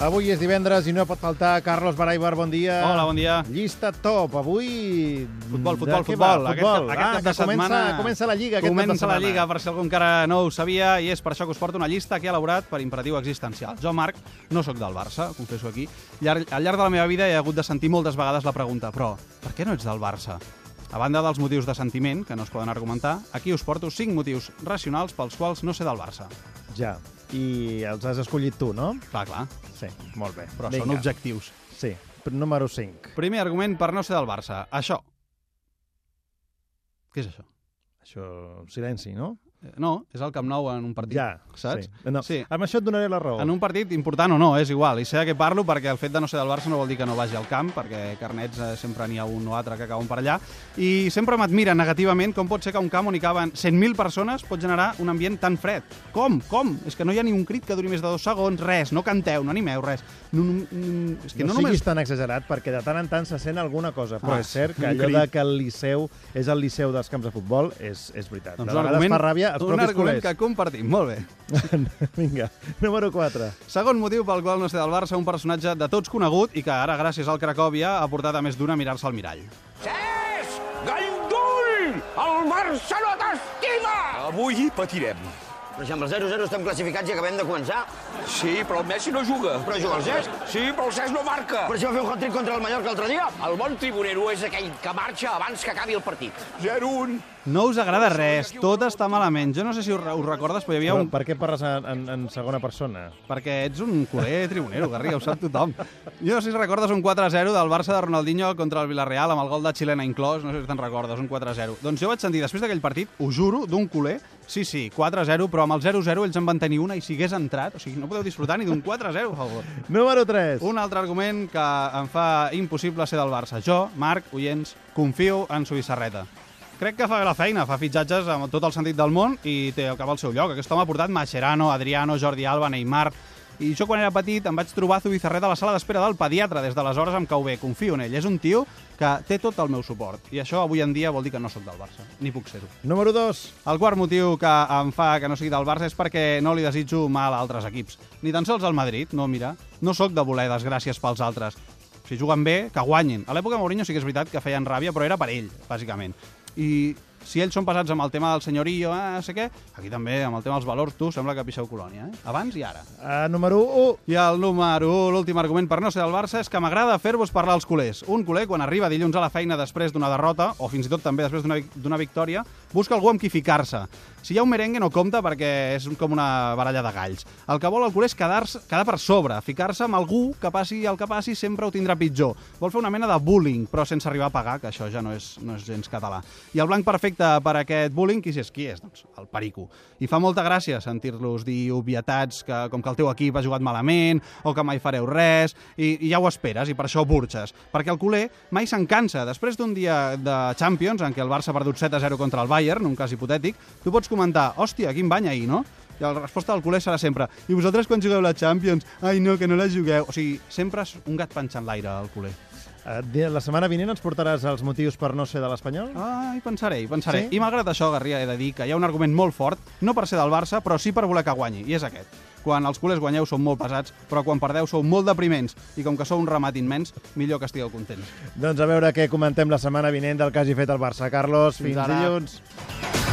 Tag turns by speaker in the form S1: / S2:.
S1: Avui és divendres i no pot faltar Carlos Baraibar, bon dia.
S2: Hola, bon dia.
S1: Llista top, avui...
S2: Futbol,
S1: de
S2: futbol,
S1: què
S2: futbol.
S1: Va?
S2: Aquest
S1: futbol. Ah,
S2: cap- aquest cap de
S1: que comença,
S2: setmana-
S1: comença la Lliga aquest cap de
S2: Comença la
S1: setmana.
S2: Lliga, per si algú encara no ho sabia, i és per això que us porto una llista que he elaborat per imperatiu existencial. Jo, Marc, no sóc del Barça, confesso aquí. Llar- Al llarg de la meva vida he hagut de sentir moltes vegades la pregunta però, per què no ets del Barça? A banda dels motius de sentiment, que no es poden argumentar, aquí us porto 5 motius racionals pels quals no ser del Barça.
S1: Ja, i els has escollit tu, no?
S2: Clar, clar,
S1: Sí, molt bé.
S2: però
S1: Vinga.
S2: són objectius.
S1: Sí, número 5.
S2: Primer argument per no ser del Barça, això. Què és això?
S1: Això, silenci, no?
S2: Eh, No, és el Camp Nou en un partit.
S1: Ja,
S2: saps?
S1: Sí. No.
S2: Sí.
S1: Amb això et donaré la raó.
S2: En un partit important o no, és igual. I sé de què parlo perquè el fet de no ser del Barça no vol dir que no vagi al camp, perquè carnets eh, sempre n'hi ha un o altre que acaben per allà. I sempre m'admira negativament com pot ser que un camp on hi caben 100.000 persones pot generar un ambient tan fred. Com? Com? És que no hi ha ni un crit que duri més de dos segons, res, no canteu, no animeu, res. No, no, no, és que
S1: no,
S2: no,
S1: siguis
S2: només...
S1: tan exagerat, perquè de tant en tant se sent alguna cosa. Però
S2: Ah,
S1: és cert que
S2: un
S1: allò
S2: crit.
S1: de que el Liceu és el Liceu dels camps de futbol és, és veritat. de
S2: Doncs un
S1: vegades
S2: argument,
S1: fa ràbia els
S2: un
S1: propis
S2: argument
S1: culers.
S2: que compartim, molt bé.
S1: Vinga, número 4.
S2: Segon motiu pel qual no ser del Barça, un personatge de tots conegut i que ara, gràcies al Cracòvia, ha portat a més d'una a mirar-se al mirall.
S3: Cesc! Gandul! El Barcelona t'estima!
S4: Avui patirem.
S5: Però si amb el 0-0 estem classificats i acabem de començar.
S4: Sí, però el Messi no juga.
S5: Però juga el Cesc.
S4: Sí, però el Cesc no marca.
S5: Per això va fer un hat-trick contra el Mallorca l'altre dia.
S3: El bon tribunero és aquell que marxa abans que acabi el partit.
S4: 0-1.
S2: No us agrada res, tot està malament. Jo no sé si us, us recordes, però hi havia
S1: Però,
S2: un...
S1: Per què parles en, en, en segona persona?
S2: Perquè ets un culer tribunero, Garriga, ho sap tothom. Jo no sé si recordes un 4-0 del Barça de Ronaldinho contra el Villarreal amb el gol de Chilena inclòs, no sé si te'n recordes, un 4-0. Doncs jo vaig sentir, després d'aquell partit, ho juro, d'un culer, sí, sí, 4-0, però amb el 0-0 ells en van tenir una i si hagués entrat, o sigui, no podeu disfrutar ni d'un 4-0, per favor.
S1: Número 3.
S2: Un altre argument que em fa impossible ser del Barça. Jo, Marc, oients, confio en Suïssarreta. Crec que fa bé la feina, fa fitxatges amb tot el sentit del món i té el cap al seu lloc. Aquest home ha portat Mascherano, Adriano, Jordi Alba, Neymar... I jo quan era petit em vaig trobar Zubizarreta a la sala d'espera del pediatre. Des d'aleshores em cau bé, confio en ell. És un tio que té tot el meu suport. I això avui en dia vol dir que no sóc del Barça. Ni puc ser-ho.
S1: Número 2.
S2: El quart motiu que em fa que no sigui del Barça és perquè no li desitjo mal a altres equips. Ni tan sols al Madrid, no, mira. No sóc de voler desgràcies pels altres. Si juguen bé, que guanyin. A l'època de Mourinho sí que és veritat que feien ràbia, però era per ell, bàsicament. I si ells són passats amb el tema del senyorio, eh, no sé què, aquí també, amb el tema dels valors, tu, sembla que pixeu colònia, eh? Abans i ara.
S1: Uh, número 1.
S2: I el número 1, l'últim argument per no ser del Barça, és que m'agrada fer-vos parlar als culers. Un culer, quan arriba dilluns a la feina després d'una derrota, o fins i tot també després d'una vic- d'una victòria, busca algú amb qui ficar-se. Si hi ha un merengue no compta perquè és com una baralla de galls. El que vol el culer és quedar, quedar per sobre, ficar-se amb algú que passi el que passi sempre ho tindrà pitjor. Vol fer una mena de bullying, però sense arribar a pagar, que això ja no és, no és gens català. I el blanc perfecte per a aquest bullying, qui és? Qui és? Doncs el Perico. I fa molta gràcia sentir-los dir obvietats que, com que el teu equip ha jugat malament o que mai fareu res, i, i ja ho esperes, i per això burxes. Perquè el culer mai se'n cansa. Després d'un dia de Champions, en què el Barça ha perdut 7-0 contra el Bayern, un cas hipotètic, tu pots comentar, hòstia, quin bany ahir, no? I la resposta del culer serà sempre i vosaltres quan jugueu la Champions? Ai, no, que no la jugueu. O sigui, sempre és un gat panxant l'aire, el culer.
S1: Uh, la setmana vinent ens portaràs els motius per no ser de l'Espanyol?
S2: Ah, hi pensaré, hi pensaré.
S1: Sí?
S2: Sí? I malgrat això, Garria, he de dir que hi ha un argument molt fort, no per ser del Barça, però sí per voler que guanyi, i és aquest. Quan els culers guanyeu són molt pesats, però quan perdeu sou molt depriments, i com que sou un ramat immens, millor que estigueu contents.
S1: Doncs a veure què comentem la setmana vinent del que hagi fet el Barça. Carlos, fins,
S2: ara.
S1: dilluns.